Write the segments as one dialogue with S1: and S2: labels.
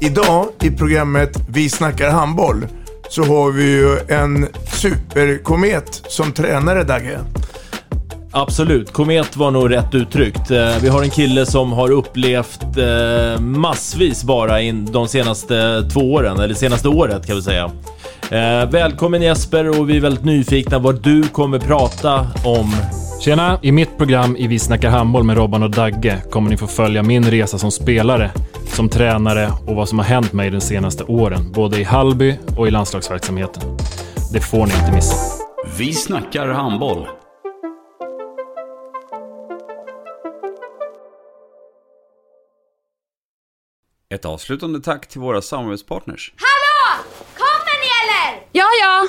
S1: Idag i programmet Vi snackar handboll så har vi ju en superkomet som tränare, Dagge.
S2: Absolut, komet var nog rätt uttryckt. Eh, Vi har en kille som har upplevt eh, massvis bara in de senaste två åren, eller senaste året kan vi säga. Eh, Välkommen Jesper och vi är väldigt nyfikna vad du kommer prata om.
S3: Tjena! I mitt program i Vi snackar handboll med Robban och Dagge kommer ni få följa min resa som spelare, som tränare och vad som har hänt mig de senaste åren, både i Hallby och i landslagsverksamheten. Det får ni inte missa.
S4: Vi snackar handboll. Ett avslutande tack till våra samarbetspartners.
S5: Hallå! Kommer ni eller?
S6: Ja, ja.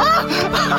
S7: Ah!